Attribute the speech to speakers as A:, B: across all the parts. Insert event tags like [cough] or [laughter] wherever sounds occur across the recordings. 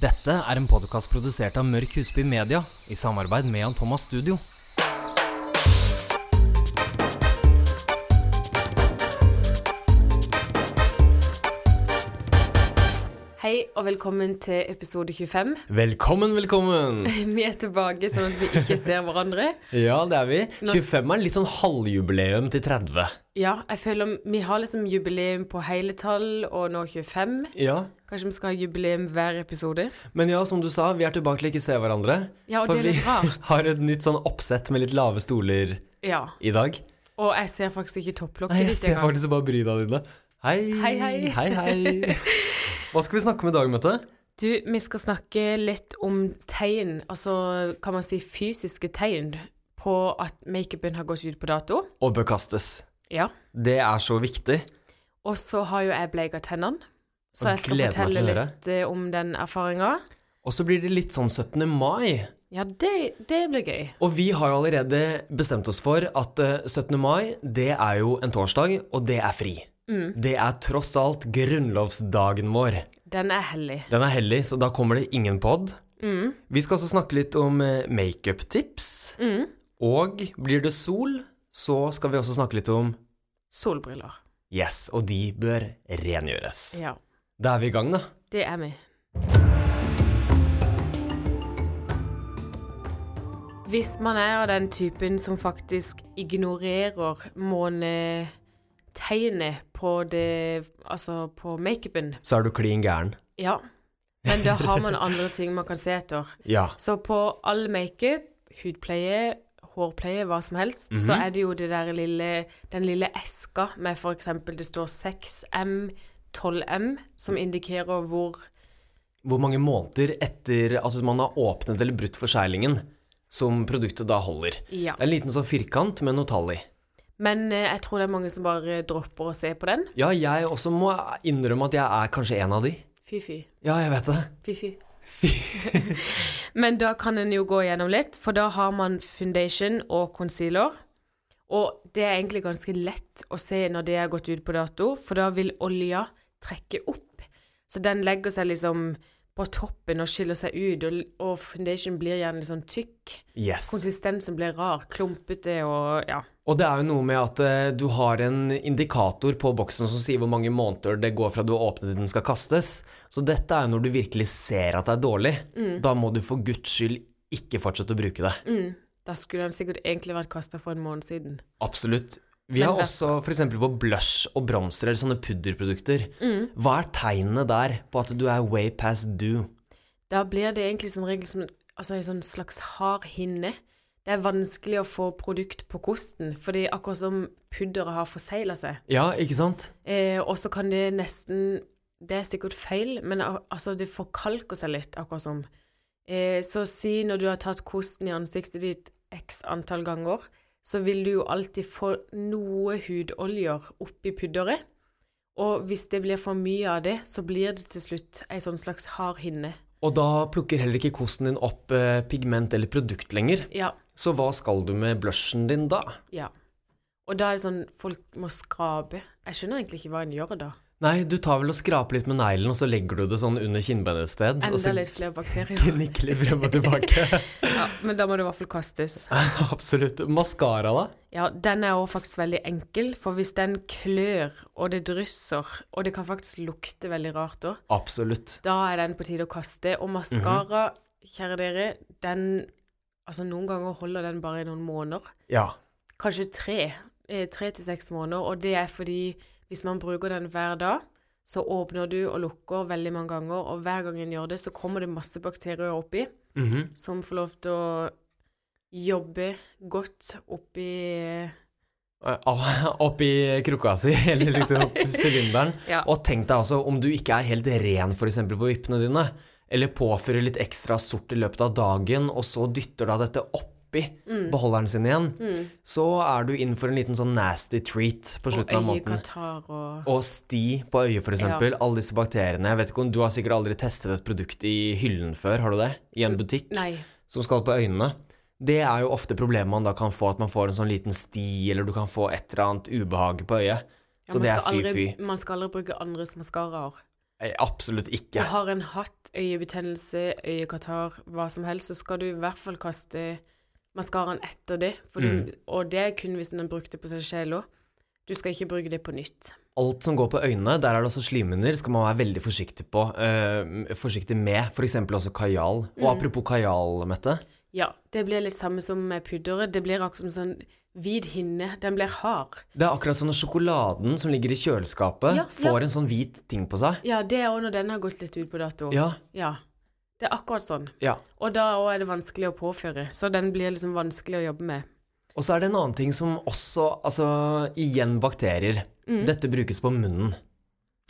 A: Dette er en podkast produsert av Mørk Husby Media i samarbeid med Jan Thomas Studio.
B: Hei og velkommen til episode 25.
C: Velkommen, velkommen!
B: [laughs] Vi er tilbake sånn at vi ikke ser hverandre.
C: Ja, det er vi.
B: Nå-
C: 25 er litt sånn halvjubileum til 30.
B: Ja, jeg føler vi har liksom jubileum på hele tall, og nå 25.
C: Ja,
B: Kanskje vi skal ha jubileum hver episode?
C: Men ja, som du sa, vi er tilbake til ikke se hverandre.
B: Ja, og
C: for
B: det er litt
C: vi
B: rart.
C: [laughs] har et nytt sånn oppsett med litt lave stoler
B: Ja.
C: i dag.
B: Og jeg ser faktisk ikke
C: Nei,
B: topplokket
C: jeg
B: ditt
C: ser
B: engang.
C: faktisk bare bryna dine. Hei,
B: Hei, hei.
C: hei,
B: [laughs]
C: hei. Hva skal vi snakke om i dag, Mette?
B: Du, vi skal snakke litt om tegn, altså kan man si fysiske tegn, på at makeupen har gått ut på dato.
C: Å bekastes.
B: Ja.
C: Det er så viktig.
B: Og så har jo jeg bleika tennene, så
C: Og
B: jeg skal
C: gleder meg til
B: fortelle
C: å høre.
B: litt eh, om den erfaringa.
C: Og så blir det litt sånn 17. mai.
B: Ja, det, det blir gøy.
C: Og vi har jo allerede bestemt oss for at eh, 17. mai, det er jo en torsdag, og det er fri. Det er tross alt grunnlovsdagen vår.
B: Den er hellig.
C: Den er hellig, så da kommer det ingen pod. Vi skal også snakke litt om eh, makeup-tips. Og blir det sol, så skal vi også snakke litt om
B: Solbriller.
C: Yes, og de bør rengjøres.
B: Ja,
C: Da er vi i gang, da.
B: det er vi. Hvis man er av den typen som faktisk ignorerer månetegnet på det Altså på makeupen,
C: Så er du klin gæren.
B: ja. Men da har man andre ting man kan se etter.
C: Ja.
B: Så på all makeup, hudpleie, hårpleie, hva som helst, så er det jo det der lille, den lille eska med for eksempel det står 6M, 12M, som indikerer hvor
C: Hvor mange måneder etter at man har åpnet eller brutt forseglingen, som produktet da holder.
B: Ja.
C: Det er en liten sånn firkant med noe tall i.
B: Men eh, jeg tror det er mange som bare dropper å se på den.
C: Ja, jeg også må innrømme at jeg er kanskje en av de.
B: Fy, fy.
C: Ja, jeg vet det.
B: Fy, fy. Men da kan en jo gå gjennom litt, for da har man foundation og concealer. Og det er egentlig ganske lett å se når det er gått ut på dato, for da vil olja trekke opp. Så den legger seg liksom på toppen og skiller seg ut, og, og foundation blir gjerne litt sånn tykk.
C: Yes.
B: Konsistensen blir rar, klumpete og ja.
C: Og det er jo noe med at eh, du har en indikator på boksen som sier hvor mange måneder det går fra du har åpnet til den skal kastes. Så dette er jo når du virkelig ser at det er dårlig. Da må du for guds skyld ikke fortsette å bruke det.
B: Da skulle den sikkert egentlig vært kasta for en måned siden.
C: Absolutt. Vi har også f.eks. på blush og bronser eller sånne pudderprodukter.
B: Mm.
C: Hva er tegnene der på at du er way past due?
B: Da blir det egentlig som regel som altså en sånn slags hard hinne. Det er vanskelig å få produkt på kosten, fordi akkurat som pudderet har forsegla seg.
C: Ja, ikke sant?
B: Eh, og så kan det nesten Det er sikkert feil, men al- altså det forkalker seg litt, akkurat som. Eh, så si når du har tatt kosten i ansiktet ditt x antall ganger, så vil du jo alltid få noe hudoljer oppi pudderet. Og hvis det blir for mye av det, så blir det til slutt ei sånn slags hard hinne.
C: Og da plukker heller ikke kosten din opp eh, pigment eller produkt lenger.
B: Ja.
C: Så hva skal du med blushen din da?
B: Ja. Og da er det sånn folk må skrape. Jeg skjønner egentlig ikke hva en gjør da.
C: Nei, du tar vel og skraper litt med neglen, og så legger du det sånn under kinnbeinet et sted. og så
B: Enda litt flere bakterier.
C: [laughs] nikker litt frem og
B: [laughs]
C: tilbake.
B: Ja, men da må det i hvert fall kastes.
C: Absolutt. Maskara, da?
B: Ja, den er også faktisk veldig enkel, for hvis den klør, og det drysser, og det kan faktisk lukte veldig rart da,
C: Absolutt.
B: da er den på tide å kaste. Og maskara, kjære dere, den Altså, noen ganger holder den bare i noen måneder.
C: Ja.
B: kanskje tre, eh, tre til seks måneder, og det er fordi hvis man bruker den hver dag, så åpner du og lukker veldig mange ganger, og hver gang en gjør det, så kommer det masse bakterier oppi,
C: Mhm.
B: som får lov til å jobbe godt oppi
C: Eh, Opp i krukka si, [laughs] eller liksom opp i sylinderen.
B: Ja.
C: Og tenk deg altså, om du ikke er helt ren for eksempel på vippene dine, eller påfører litt ekstra sort i løpet av dagen, og så dytter da dette oppi
B: Mm.
C: beholderen sin igjen, så er du inn for en liten sånn nasty treat på
B: og
C: slutten av måneden.
B: øyekatarr og
C: Og sti på øyet, for eksempel. Alle disse bakteriene. Jeg vet ikke om Du har sikkert aldri testet et produkt i hyllen før, har du det? I en butikk?
B: Nei.
C: Som skal på øynene. Det er jo ofte problemet man da kan få, at man får en sånn liten sti, eller du kan få et eller annet ubehag på øyet.
B: Ja,
C: Så
B: man
C: det er
B: skal aldri-
C: fy-fy.
B: Man skal aldri bruke andres maskaraer.
C: Eh, Absolutt ikke.
B: Og har en hatt, øyebetennelse, øyekatarr, hva som helst, så skal du i hvert fall kaste maskaraen etter det. For du, og det er kun hvis den er brukt det på seg selv òg. Du skal ikke bruke det på nytt.
C: Alt som går på øynene, der er det også slimhinner, skal man være veldig forsiktig, på, eh, forsiktig med. F.eks. også kajal.
B: Mm.
C: Og apropos kajal, Mette.
B: Ja, det blir litt samme som med pudderet. Det blir akkurat som sånn hvit hinne. Den blir hard.
C: Det er akkurat som når sjokoladen som ligger i kjøleskapet,
B: Ja,
C: får en sånn hvit ting på seg.
B: Ja, det er òg når den har gått litt ut på dato.
C: Ja,
B: ja. Det er akkurat sånn.
C: ja.
B: Og da òg er det vanskelig å påføre. Så den blir liksom vanskelig å jobbe med.
C: Og så er det en annen ting som også Altså, igjen bakterier. Dette brukes på munnen,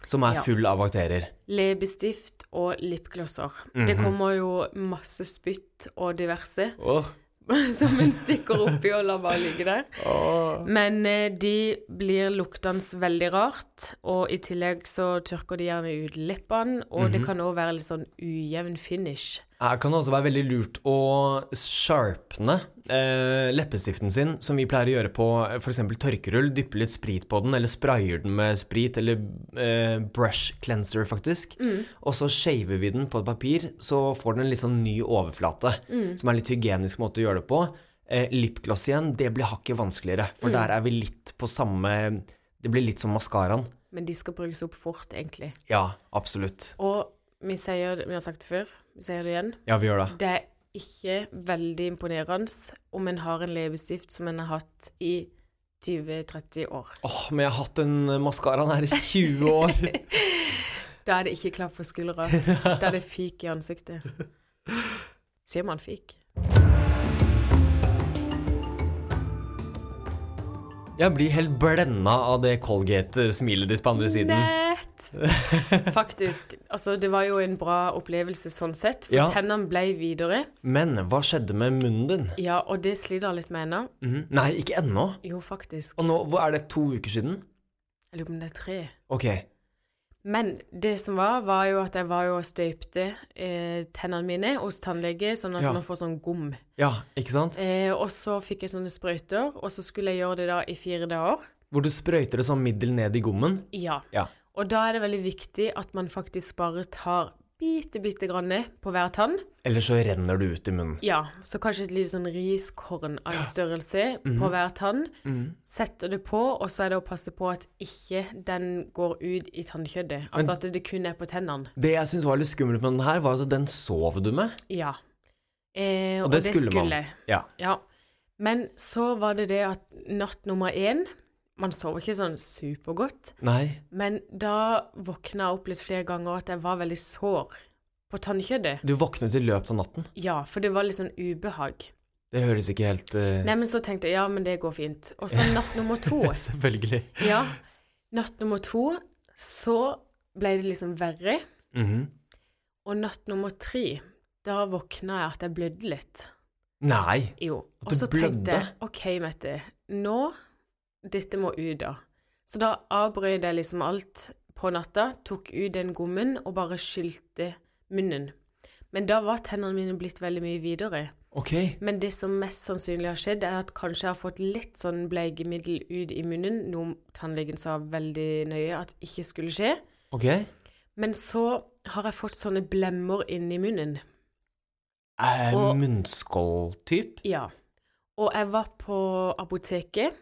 C: som er
B: Mm. Ja.
C: full av bakterier.
B: Leppestift og lipglosser. Det kommer jo masse spytt og diverse [laughs] som en stikker oppi og lar bare ligge der. Men eh, de blir luktende veldig rart, og i tillegg så tørker de gjerne ut leppene, og det kan òg være litt sånn ujevn finish.
C: Her kan det også være veldig lurt å sharpne eh, leppestiften sin, som vi pleier å gjøre på f.eks. tørkerull. Dyppe litt sprit på den, eller sprayer den med sprit, eller eh, brush cleanser, faktisk. Og så shaver vi den på et papir, så får den en litt sånn ny overflate, som er en litt hygienisk måte å gjøre det på. Eh, Lipgloss igjen, det blir hakket vanskeligere, for der er vi litt på samme Det blir litt som maskaraen.
B: Men de skal brukes opp fort, egentlig.
C: Ja, absolutt.
B: Og vi sier det, vi har sagt det før, vi sier det igjen.
C: Ja, vi gjør det.
B: Det er ikke veldig imponerende om en har en leppestift som en har hatt i 20-30 år.
C: Åh, men jeg har hatt den maskaraen her i 20 [laughs] år.
B: Da er det ikke klapp for skuldra. Da er det fik i ansiktet. Sier man fik?
C: Jeg blir helt blenda av det Colgate-smilet ditt på andre siden. [laughs]
B: Nett! Faktisk. Altså, det var jo en bra opplevelse sånn sett, for
C: Ja.
B: tennene ble videre.
C: Men hva skjedde med munnen din?
B: Ja, og det sliter jeg litt med ennå.
C: Mhm. Nei, ikke ennå.
B: Jo, faktisk.
C: Og nå hvor er det to uker siden?
B: Jeg lurer på om det er tre.
C: Ok.
B: Men det som var, var jo at jeg var jo og støypte eh, tennene mine hos tannlege, sånn at
C: Ja.
B: man får sånn gom.
C: Ja, ikke sant?
B: Eh, og så fikk jeg sånne sprøyter, og så skulle jeg gjøre det da i fire dager.
C: Hvor du sprøyter det sånn middel ned i gommen.
B: Ja.
C: Ja.
B: Og da er det veldig viktig at man faktisk bare tar bitte, bitte grann på hver tann.
C: Eller så renner det ut i munnen.
B: Ja, så kanskje et lite sånn riskorn av en størrelse
C: Mhm.
B: på hver tann. Setter det på, og så er det å passe på at ikke den går ut i tannkjøttet. Altså at det kun er på tennene.
C: Det jeg syns var litt skummelt med den her, var at den sov du med.
B: Ja. Eh,
C: Og det skulle man.
B: jeg.
C: Ja.
B: Ja. Men så var det det at natt nummer én Man sover ikke sånn supergodt.
C: Nei.
B: Men da våkna jeg opp litt flere ganger at jeg var veldig sår på tannkjøttet.
C: Du våknet i løpet av natten.
B: Ja, for det var litt sånn ubehag.
C: Det høres ikke helt eh, [laughs]
B: Nei, men så tenkte jeg ja, men det går fint. Og så natt nummer to.
C: Selvfølgelig.
B: [laughs] Ja. Natt nummer to, så ble det liksom verre.
C: Mhm.
B: Og natt nummer tre, da våkna jeg at jeg blødde litt.
C: Nei.
B: Jo.
C: At
B: Og
C: du
B: så tenkte jeg
C: blødde?
B: OK, Mette, nå Dette må ut, da. Så da avbrøt jeg liksom alt på natta, tok ut den gommen og bare skylte munnen. Men da var tennene mine blitt veldig mye videre.
C: Ok.
B: Men det som mest sannsynlig har skjedd, er at kanskje jeg har fått litt sånn bleikemiddel ut i munnen, noe tannlegen sa veldig nøye at ikke skulle skje.
C: Ok.
B: Men så har jeg fått sånne blemmer inni munnen.
C: Eh,
B: Og-
C: Munnskål-typ?
B: Ja. Og jeg var på apoteket,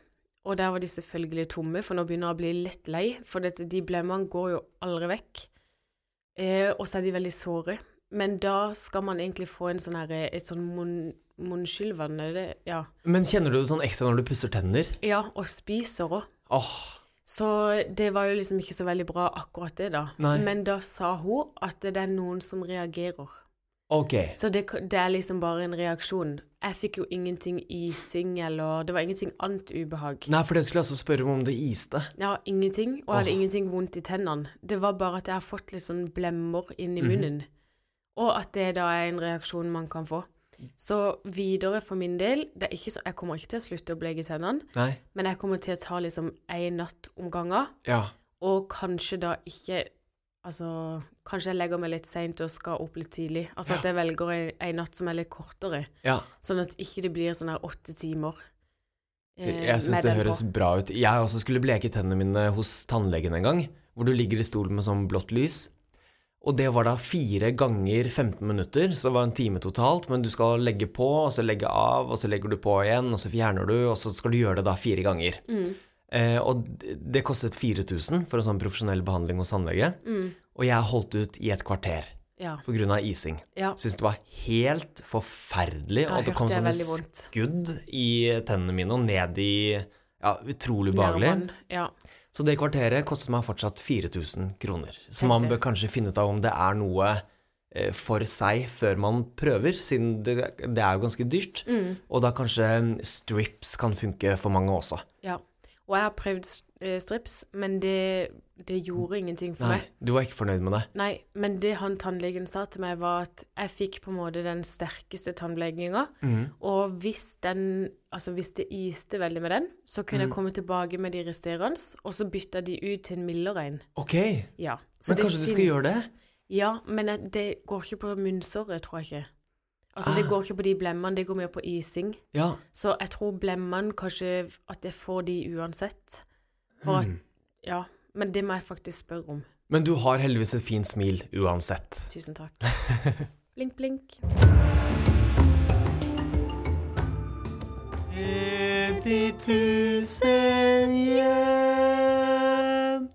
B: og der var de selvfølgelig tomme, for nå begynner jeg å bli litt lei, for dette, de blemmene går jo aldri vekk. Eh, og så er de veldig såre. Men da skal man egentlig få en sånn her, et sånn munn- munnskyllvann, er det? Ja.
C: Men kjenner du det sånn ekstra når du puster tenner?
B: ja, og spiser òg.
C: Åh.
B: Så det var jo liksom ikke så veldig bra akkurat det, da.
C: Nei.
B: Men da sa hun at det er noen som reagerer.
C: Ok.
B: Så det, det er liksom bare en reaksjon. Jeg fikk jo ingenting ising eller Det var ingenting annet ubehag.
C: Nei, for det skulle jeg også spørre om om det iste.
B: Jeg har ingenting, og jeg hadde ingenting vondt i tennene. Det var bare at jeg har fått litt sånn blemmer inni munnen. Og at det da er en reaksjon man kan få. Så videre for min del det er ikke så, Jeg kommer ikke til å slutte å bleke tennene,
C: Nei.
B: men jeg kommer til å ta liksom én natt om gangen.
C: Ja.
B: Og kanskje da ikke Altså, kanskje jeg legger meg litt seint og skal opp litt tidlig. Altså at jeg velger ei, ei natt som er litt kortere,
C: ja.
B: sånn at ikke det blir sånn her åtte timer. eh,
C: Jeg syns
B: med
C: det
B: den
C: høres
B: på.
C: bra ut. Jeg også skulle bleke tennene mine hos tannlegen en gang, hvor du ligger i stolen med sånn blått lys. Og det var da fire ganger 15 minutter, så det var en time totalt. Men du skal legge på, og så legge av, og så legger du på igjen, og så fjerner du, og så skal du gjøre det da fire ganger. Eh, og d- det kostet 4000 for en sånn profesjonell behandling hos tannlege. Og jeg holdt ut i et kvarter
B: Ja.
C: pga. ising.
B: ja.
C: Syntes det var helt forferdelig. Og
B: Jeg
C: det kom
B: hørte det er
C: sånne
B: veldig vondt.
C: skudd i tennene mine og ned i Ja, utrolig ubehagelig.
B: Nerven, Ja.
C: Så det kvarteret kostet meg fortsatt 4000 kroner. Så
B: Heftig.
C: man bør kanskje finne ut av om det er noe eh, for seg før man prøver, siden det, det er jo ganske dyrt. Og da kanskje mm, strips kan funke for mange også.
B: ja. Og jeg har prøvd eh, strips, men det, det gjorde ingenting for
C: Mm. Nei,
B: meg.
C: du var ikke fornøyd med det?
B: Nei, men det han tannlegen sa til meg, var at jeg fikk på en måte den sterkeste tannlegginga.
C: Mhm.
B: Og hvis den Altså hvis det iste veldig med den, så kunne
C: Mhm.
B: jeg komme tilbake med de resterende, og så bytta de ut til en mildere en.
C: Ok,
B: Ja. så
C: men
B: det
C: kanskje du skal
B: finnes-
C: gjøre det?
B: Ja, men jeg- det går ikke på munnsåret, tror jeg ikke. Altså,
C: Ah.
B: det går ikke på de blemmene, det går mer på ising.
C: Ja.
B: Så jeg tror blemmene kanskje at jeg får de uansett.
C: Mhm.
B: For at Ja. Men det må jeg faktisk spørre om.
C: Men du har heldigvis et fint smil uansett. [laughs]
B: Tusen takk. Blink, blink.
C: hjem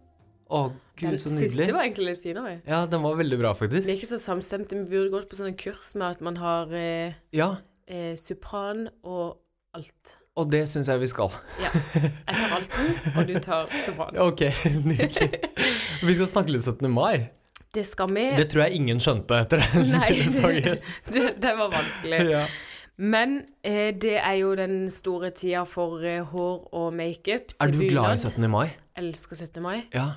C: Å, gud,
B: Den
C: så nydelig.
B: siste var egentlig litt finere.
C: Ja, den var veldig bra,
B: Vi er
C: faktisk.
B: ikke så samstemte. Vi burde gått på sånne kurs med at man har eh,
C: Ja,
B: eh, supran og alt.
C: og det syns jeg vi skal. [laughs]
B: Ja. Jeg tar alten, og du tar supran.
C: Ok, nydelig. Vi skal snakke litt 17. mai.
B: Det skal vi.
C: Det tror jeg ingen skjønte etter den
B: Nei,
C: lille
B: det,
C: [laughs] sangen.
B: [laughs] det, det var vanskelig.
C: Ja.
B: Men eh, det er jo den store tida for eh, hår og makeup. til
C: Er du glad i
B: bunad.
C: 17. mai?
B: Elsker 17. mai.
C: Ja.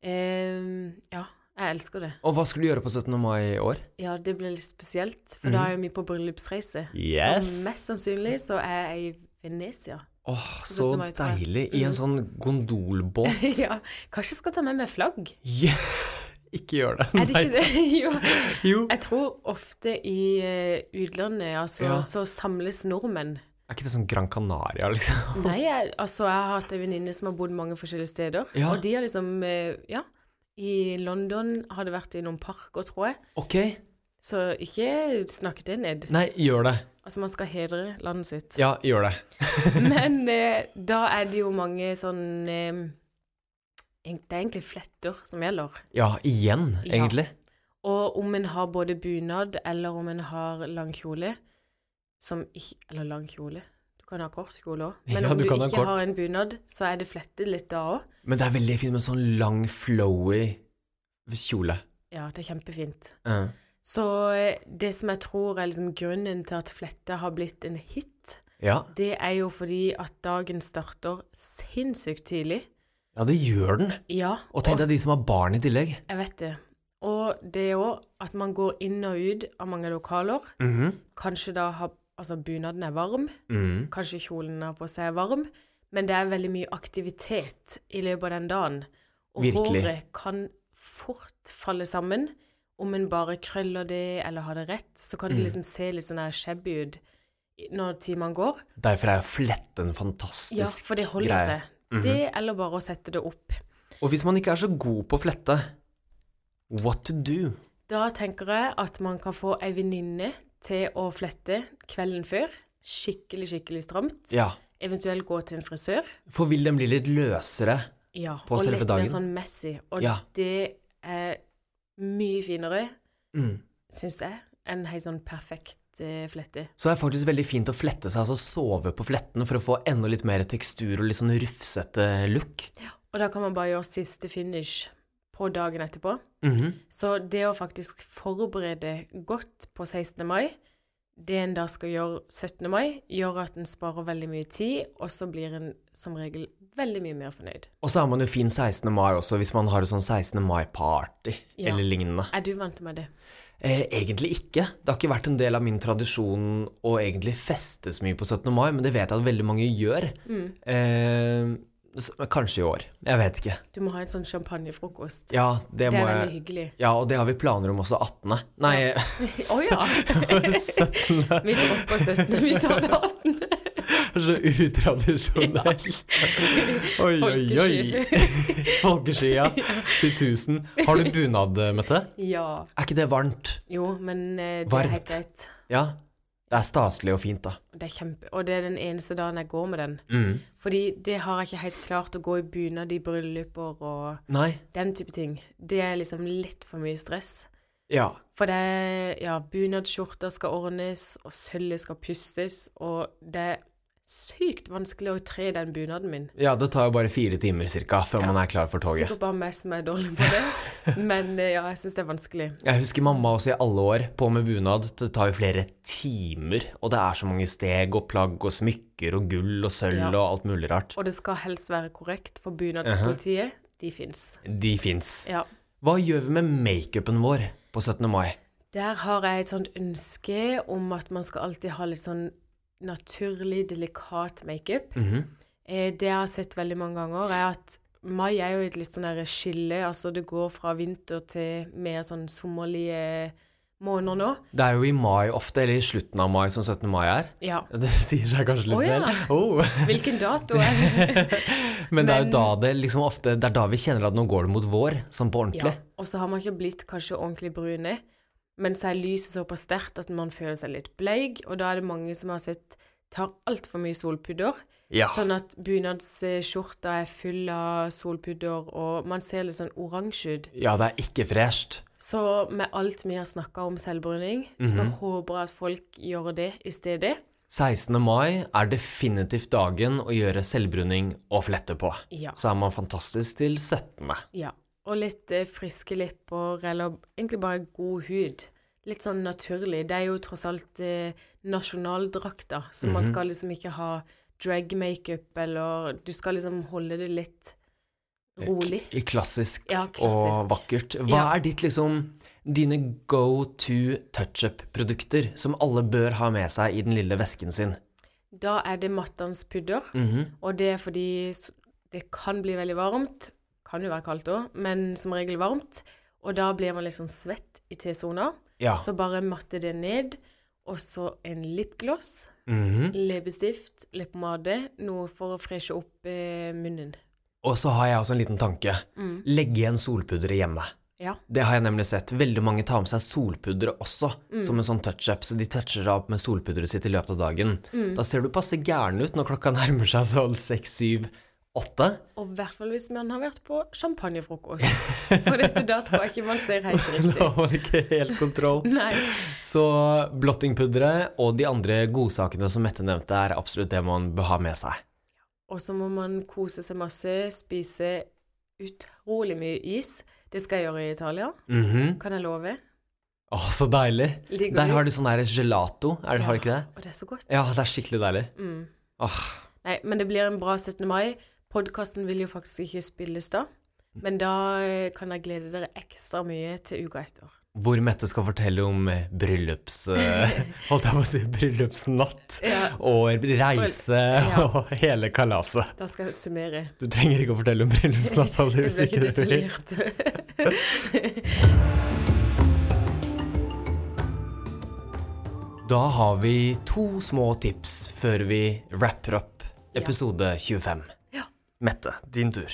B: Eh, ja, jeg elsker det.
C: Og hva skal du gjøre på 17. mai i år?
B: Ja, det blir litt spesielt, for da er jo vi på bryllupsreise.
C: Mhm. Yes.
B: Så mest sannsynlig så er jeg i Venezia.
C: Åh, så
B: 17. mai, tror jeg. Mm.
C: deilig. I en sånn gondolbåt. [laughs]
B: [laughs] ja, kanskje jeg skal ta med meg flagg?
C: Ja. Ikke gjør det.
B: Er det ikke så? [laughs] jo.
C: Nei. Jo.
B: Jeg tror ofte i eh, utlandet altså,
C: Ja.
B: så samles nordmenn.
C: Er ikke det sånn Gran Canaria, liksom?
B: Nei, jeg, altså jeg har hatt en venninne som har bodd mange forskjellige steder.
C: Ja.
B: Og de har liksom eh, Ja. I London har det vært i noen parker, tror jeg.
C: Ok.
B: Så ikke snakk det ned.
C: Nei, gjør det.
B: Altså, man skal hedre landet
C: [laughs]
B: sitt.
C: Ja, gjør det.
B: Men eh, da er det jo mange sånn eh, egent- Det er egentlig fletter som gjelder.
C: Ja, igjen,
B: Ja.
C: egentlig.
B: Og om en har både bunad eller om en har lang kjole som ikke, Eller lang kjole. Du kan ha kort kjole òg.
C: [laughs]
B: Men
C: Ja,
B: om
C: du
B: du,
C: kan ha
B: ikke
C: kort.
B: har en bunad, så er det flettet litt da òg.
C: Men det er veldig fint med sånn lang, flowy kjole.
B: Ja, det er kjempefint.
C: Ja.
B: Så eh, det som jeg tror er liksom grunnen til at flette har blitt en hit,
C: Ja.
B: det er jo fordi at dagen starter sinnssykt tidlig.
C: ja, det gjør den.
B: Ja,
C: Og tenk deg de som har barn i tillegg.
B: jeg vet det. Og det òg at man går inn og ut av mange lokaler. Kanskje da har Altså, bunaden er varm.
C: Mhm.
B: Kanskje kjolen har på seg er varm. Men det er veldig mye aktivitet i løpet av den dagen. Og
C: Virkelig.
B: håret kan fort falle sammen. Om en bare krøller det eller har det rett, så kan
C: Mm.
B: det liksom se litt sånn her shabby ut i- når timene går.
C: Derfor er jo flette en
B: Ja,
C: fantastisk
B: for det holder
C: greie. Mhm.
B: seg. Det eller bare å sette det opp.
C: Og hvis man ikke er så god på flette, what to do?
B: Da tenker jeg at man kan få ei venninne til å flette kvelden før. Skikkelig, skikkelig stramt.
C: Ja.
B: Eventuelt gå til en frisør.
C: For vil den bli litt løsere?
B: Ja,
C: på
B: og
C: selve
B: litt
C: dagen.
B: mer sånn messy. Og
C: Ja.
B: det er mye finere,
C: Mm.
B: syns jeg, enn helt sånn perfekt eh, flette.
C: Så det er faktisk veldig fint å flette seg, altså sove på fletten for å få enda litt mer tekstur og litt sånn rufsete look.
B: Og da kan man bare gjøre siste finish på dagen etterpå.
C: Mhm.
B: Så det å faktisk forberede godt på 16. mai, det en da skal gjøre 17. mai, gjør at en sparer veldig mye tid, og så blir en som regel veldig mye mer fornøyd.
C: Og så er man jo fin 16. mai også, hvis man har et sånn 16. mai-party
B: Ja.
C: eller lignende.
B: Er du vant med det?
C: Eh, egentlig ikke. Det har ikke vært en del av min tradisjon å egentlig feste så mye på 17. mai, men det vet jeg at veldig mange gjør.
B: Mm.
C: Eh, så, kanskje i år. Jeg vet ikke.
B: Du må ha en sånn champagnefrokost.
C: Ja, det,
B: Det
C: må
B: er
C: jeg
B: veldig hyggelig.
C: [laughs] Ja, og det har vi planer om også 18. Nei, [laughs]
B: Å ja!
C: 17. [laughs]
B: Vi dropper 17., vi tar det 18.
C: er så
B: [laughs]
C: utradisjonell. Oi, oi, oi. [laughs] Folkesky, ja. Til tusen. Har du bunad, Mette?
B: Ja.
C: Er ikke det varmt?
B: Jo, men eh, det er
C: Varmt.
B: helt greit.
C: Ja. Det er staselig og fint, da.
B: Det er kjempe... Og det er den eneste dagen jeg går med den.
C: Mm.
B: Fordi det har jeg ikke helt klart å gå i bunad i brylluper og
C: Nei.
B: den type ting. Det er liksom litt for mye stress.
C: Ja.
B: For det er Ja, bunadsskjorter skal ordnes, og sølvet skal pustes, og det er sykt vanskelig å tre den bunaden min.
C: ja, det tar jo bare fire timer cirka før man er klar for toget.
B: Sikkert bare meg som er dårlig på det,
C: [laughs]
B: men eh, ja, jeg syns det er vanskelig.
C: Jeg husker mamma også i alle år, på med bunad. Det tar jo flere timer, og det er så mange steg og plagg og smykker og gull og sølv
B: Ja.
C: og alt mulig rart.
B: Og det skal helst være korrekt, for bunadspolitiet, de fins.
C: De fins.
B: Ja.
C: Hva gjør vi med makeupen vår på 17. mai?
B: Der har jeg et sånt ønske om at man skal alltid ha litt sånn naturlig, delikat makeup. Eh, Det jeg har sett veldig mange ganger, er at mai er jo et litt sånn der skille. Altså det går fra vinter til mer sånn sommerlige måneder nå.
C: Det er jo i mai ofte, eller i slutten av mai som 17. mai er. [laughs]
B: Ja.
C: Det sier seg kanskje litt
B: Å, ja.
C: selv. Oh. [laughs]
B: Hvilken dato er [laughs] det?
C: Men det er jo
B: Men-
C: da det liksom ofte Det er da vi kjenner at nå går det mot vår, sånn på
B: Ja.
C: ordentlig.
B: Og så har man ikke blitt kanskje ordentlig brune, men så er lyset såpass sterkt at man føler seg litt bleik, og da er det mange som har sett tar altfor mye solpudder.
C: Ja.
B: Sånn at bunadsskjorta er full av solpudder, og man ser litt sånn oransje ut.
C: Ja, det er ikke fresht.
B: Så med alt vi har snakka om selvbruning, så håper jeg at folk gjør det i stedet.
C: 16. mai er definitivt dagen å gjøre selvbruning og flette på.
B: Ja.
C: Så er man fantastisk til 17.
B: ja. Og litt eh, friske lepper, eller egentlig bare god hud. Litt sånn naturlig. Det er jo tross alt eh, nasjonaldrakter, så man skal liksom ikke ha drag-makeup, eller Du skal liksom holde det litt rolig.
C: K- Klassisk,
B: Ja,
C: og
B: klassisk.
C: vakkert. Hva
B: Ja.
C: er ditt liksom dine go to touch-up-produkter som alle bør ha med seg i den lille vesken sin?
B: Da er det mattans pudder.
C: Mhm.
B: Og det er fordi s- det kan bli veldig varmt. Kan jo være kaldt òg, men som regel varmt. Og da blir man liksom svett i T-sona.
C: Ja.
B: Så bare matte det ned. Og så en lipgloss,
C: Mhm.
B: leppestift, leppepomade. Noe for å freshe opp eh, munnen.
C: Og så har jeg også en liten tanke.
B: Mm.
C: Legge igjen solpudder i hjemmet.
B: Ja.
C: Det har jeg nemlig sett. Veldig mange tar med seg solpudder også,
B: Mm.
C: som en sånn touch-up. Så de toucher seg opp med solpudderet sitt i løpet av dagen.
B: Mm.
C: Da ser du passe gæren ut når klokka nærmer seg sånn seks, syv, åtte.
B: Og i hvert fall hvis man har vært på
C: [laughs]
B: champagnefrokost. For dette da tror jeg ikke man ser helt
C: Da
B: riktig.
C: har man ikke helt kontroll.
B: Nei.
C: Så blottingpudderet og de andre godsakene som Mette nevnte, er absolutt det man bør ha med seg.
B: Og så må man kose seg masse, spise utrolig mye is. Det skal jeg gjøre i Italia,
C: Mhm.
B: kan jeg love.
C: Å, så deilig.
B: Ligger
C: Der
B: du?
C: har de sånn der gelato, er det, har de ikke det?
B: Og det er så godt.
C: Ja, det er skikkelig deilig.
B: Mm.
C: Åh,
B: Nei, men det blir en bra 17. mai. Podkasten vil jo faktisk ikke spilles da. Men da eh, kan jeg glede dere ekstra mye til uka etter.
C: hvor Mette skal fortelle om eh, bryllups...
B: [laughs]
C: eh, Holdt jeg på å si bryllupsnatt.
B: Ja,
C: og reise [laughs]
B: Ja.
C: og hele kalaset.
B: da skal jeg
C: [laughs]
B: summere.
C: Du trenger ikke å fortelle om
B: [laughs]
C: bryllupsnatta di
B: Det
C: hvis
B: blir
C: ikke
B: ikke
C: du vil.
B: detaljert. [laughs]
C: Da har vi to små tips før vi wrapper opp episode 25.
B: Ja.
C: Mette, din tur.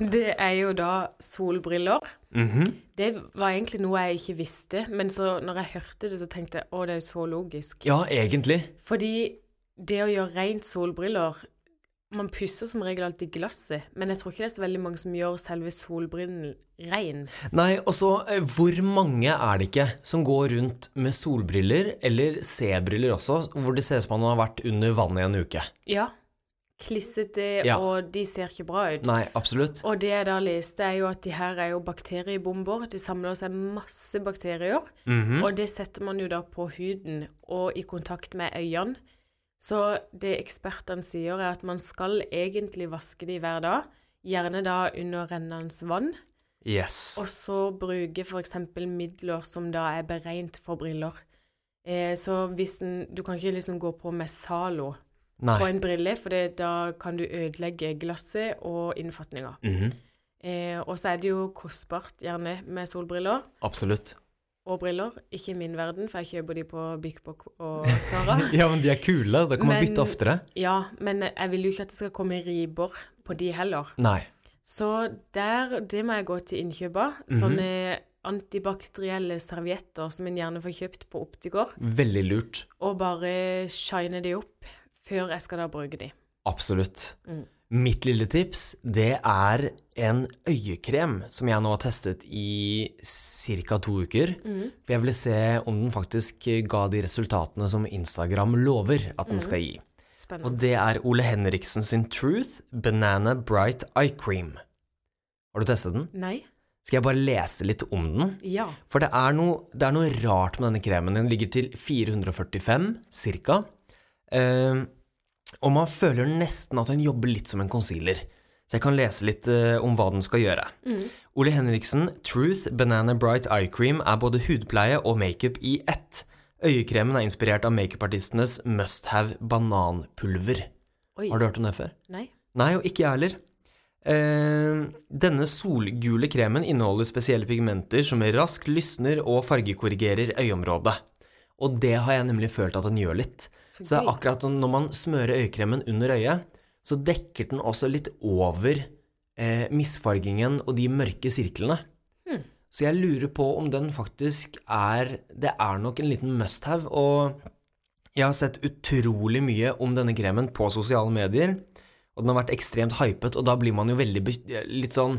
B: Det er jo da solbriller.
C: Mhm.
B: Det var egentlig noe jeg ikke visste, men så når jeg hørte det, så tenkte jeg å, det er jo så logisk.
C: Ja, egentlig.
B: Fordi det å gjøre rent solbriller Man pusser som regel alltid glasset, men jeg tror ikke det er så veldig mange som gjør selve solbrillen rein.
C: Nei, og så eh, hvor mange er det ikke som går rundt med solbriller, eller C-briller også, hvor det ser ut som man har vært under vann i en uke?
B: Ja. Klissete,
C: Ja.
B: og de ser ikke bra ut.
C: Nei, absolutt.
B: Og det jeg da leste, er jo at de her er jo bakteriebomber. De samler seg masse bakterier.
C: Mhm. Mm.
B: Og det setter man jo da på huden og i kontakt med øynene. Så det ekspertene sier, er at man skal egentlig vaske de hver dag. Gjerne da under rennende vann.
C: Yes.
B: Og så bruke f.eks. midler som da er beregnet for briller. Eh, så hvis en Du kan ikke liksom gå på med Zalo på
C: Nei.
B: en brille, for det, da kan du ødelegge glasset og innfatninga.
C: Mhm.
B: Eh, og så er det jo kostbart, gjerne, med solbriller.
C: Absolutt.
B: og briller. Ikke i min verden, for jeg kjøper de på Bykbok
C: [laughs]
B: og Sara.
C: Ja, men de er kule. Da kan man
B: Men-
C: bytte oftere.
B: Ja, men jeg vil jo ikke at det skal komme ribber på de heller.
C: Nei.
B: Så der, det må jeg gå til innkjøp av.
C: Mhm.
B: Sånne antibakterielle servietter som en gjerne får kjøpt på Optigård,
C: Veldig lurt.
B: og bare shine de opp før jeg skal da bruke de.
C: Absolutt.
B: Mm.
C: Mitt lille tips, det er en øyekrem som jeg nå har testet i ca. to uker.
B: Mm.
C: For jeg ville se om den faktisk ga de resultatene som Instagram lover at
B: Mm.
C: den skal gi. Og
B: Spennende.
C: det er Ole Henriksen sin Truth Banana Bright Eye Cream. Har du testet den?
B: Nei?
C: Skal jeg bare lese litt om den?
B: Ja.
C: For det er, noe, det er noe rart med denne kremen. Den ligger til 445 cirka. Eh, og man føler nesten at den jobber litt som en concealer. Så jeg kan lese litt eh, om hva den skal gjøre. Ole Henriksen, Truth Banana Bright Eye Cream er både hudpleie og makeup i ett. Øyekremen er inspirert av makeupartistenes must have bananpulver.
B: Oi.
C: Har du hørt om det før?
B: Nei?
C: Nei, og ikke jeg heller. Eh, denne solgule kremen inneholder spesielle pigmenter som raskt lysner og fargekorrigerer øyeområdet. Og det har jeg nemlig følt at den gjør litt. Så det er
B: gøy.
C: akkurat som når man smører øyekremen under øyet, så dekker den også litt over eh, misfargingen og de mørke sirklene. Så jeg lurer på om den faktisk er Det er nok en liten must-have, og jeg har sett utrolig mye om denne kremen på sosiale medier, og den har vært ekstremt hypet, og da blir man jo veldig be- litt sånn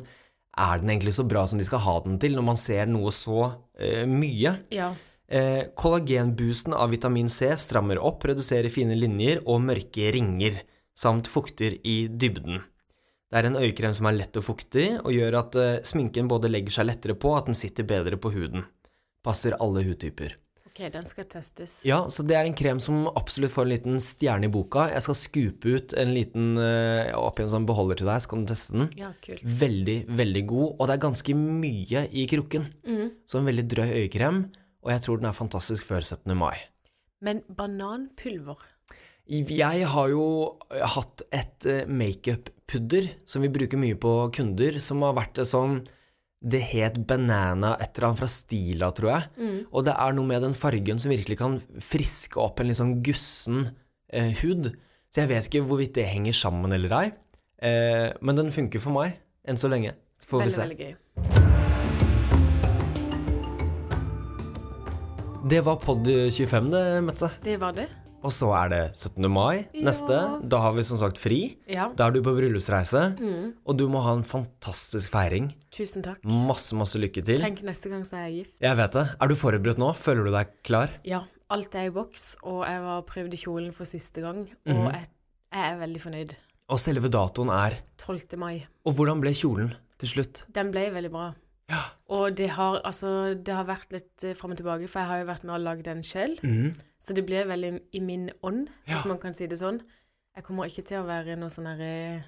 C: Er den egentlig så bra som de skal ha den til, når man ser noe så eh, mye?
B: Ja.
C: Eh, kollagenboosten av vitamin C strammer opp, reduserer fine linjer og mørke ringer, samt fukter i dybden. Det er en øyekrem som er lett og fuktig, og gjør at eh, sminken både legger seg lettere på, og at den sitter bedre på huden. Passer alle hudtyper.
B: OK, den skal testes.
C: Ja, så det er en krem som absolutt får en liten stjerne i boka. Jeg skal skupe ut en liten eh, opp i en sånn beholder til deg, så kan du teste den.
B: Ja, kult.
C: Veldig, veldig god, og det er ganske mye i krukken. Så en veldig drøy øyekrem, og jeg tror den er fantastisk før 17. mai.
B: Men bananpulver
C: Jeg har jo hatt et eh, makeup-pudder som vi bruker mye på kunder, som har vært det sånn Det het Banana et eller annet fra Stila, tror jeg.
B: Mm.
C: Og det er noe med den fargen som virkelig kan friske opp en litt sånn gussen eh, hud. Så jeg vet ikke hvorvidt det henger sammen eller ei, eh, men den funker for meg enn så lenge. Så får vi
B: Veldig,
C: se.
B: veldig gøy.
C: Det var Pod 25, det, Mette.
B: Det var det.
C: Og så er det 17. mai
B: Ja.
C: neste. Da har vi som sagt fri.
B: Ja.
C: Da er du på bryllupsreise,
B: Mm.
C: og du må ha en fantastisk feiring.
B: Tusen takk.
C: Masse, masse lykke til.
B: Tenk neste gang så er jeg gift.
C: Jeg vet det. Er du forberedt nå? Føler du deg klar?
B: Ja, alt er i boks, og jeg var prøvd i kjolen for siste gang, og
C: Mhm.
B: jeg, jeg er veldig fornøyd.
C: Og selve datoen er
B: 12. mai.
C: Og hvordan ble kjolen til slutt?
B: Den ble veldig bra.
C: Ja.
B: Og det har, altså, det har vært litt eh, fram og tilbake, for jeg har jo vært med og lagd den selv.
C: Mm.
B: Så det ble veldig i min ånd, hvis
C: Ja.
B: man kan si det sånn. Jeg kommer ikke til å være noe sånn herre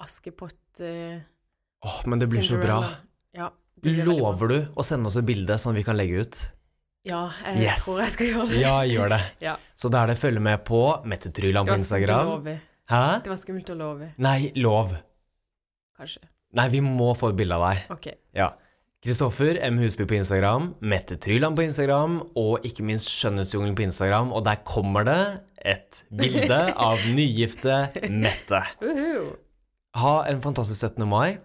B: Askepott eh,
C: Åh, men det blir så bra.
B: Cinderella. Ja, det blir veldig bra.
C: Lover du å sende oss et bilde som vi kan legge ut?
B: Ja, jeg
C: Yes.
B: tror jeg skal gjøre det.
C: Ja, gjør det.
B: Ja.
C: Så da er det følge med på Mette Tryland
B: Det
C: på
B: var skummelt å
C: Instagram.
B: love.
C: Hæ?
B: Det var skummelt å love,
C: Nei, lov.
B: kanskje.
C: Nei, vi må få et bilde av deg.
B: OK.
C: Ja. Kristoffer M. Husby på Instagram, Mette Tryland på Instagram og ikke minst Skjønnhetsjungelen på Instagram. Og der kommer det et
B: [laughs]
C: bilde av nygifte Mette.
B: Uhu.
C: Ha en fantastisk 17. mai.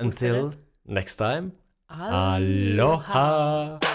B: Kos dere.
C: Until next time.
B: Aloha.
C: Aloha!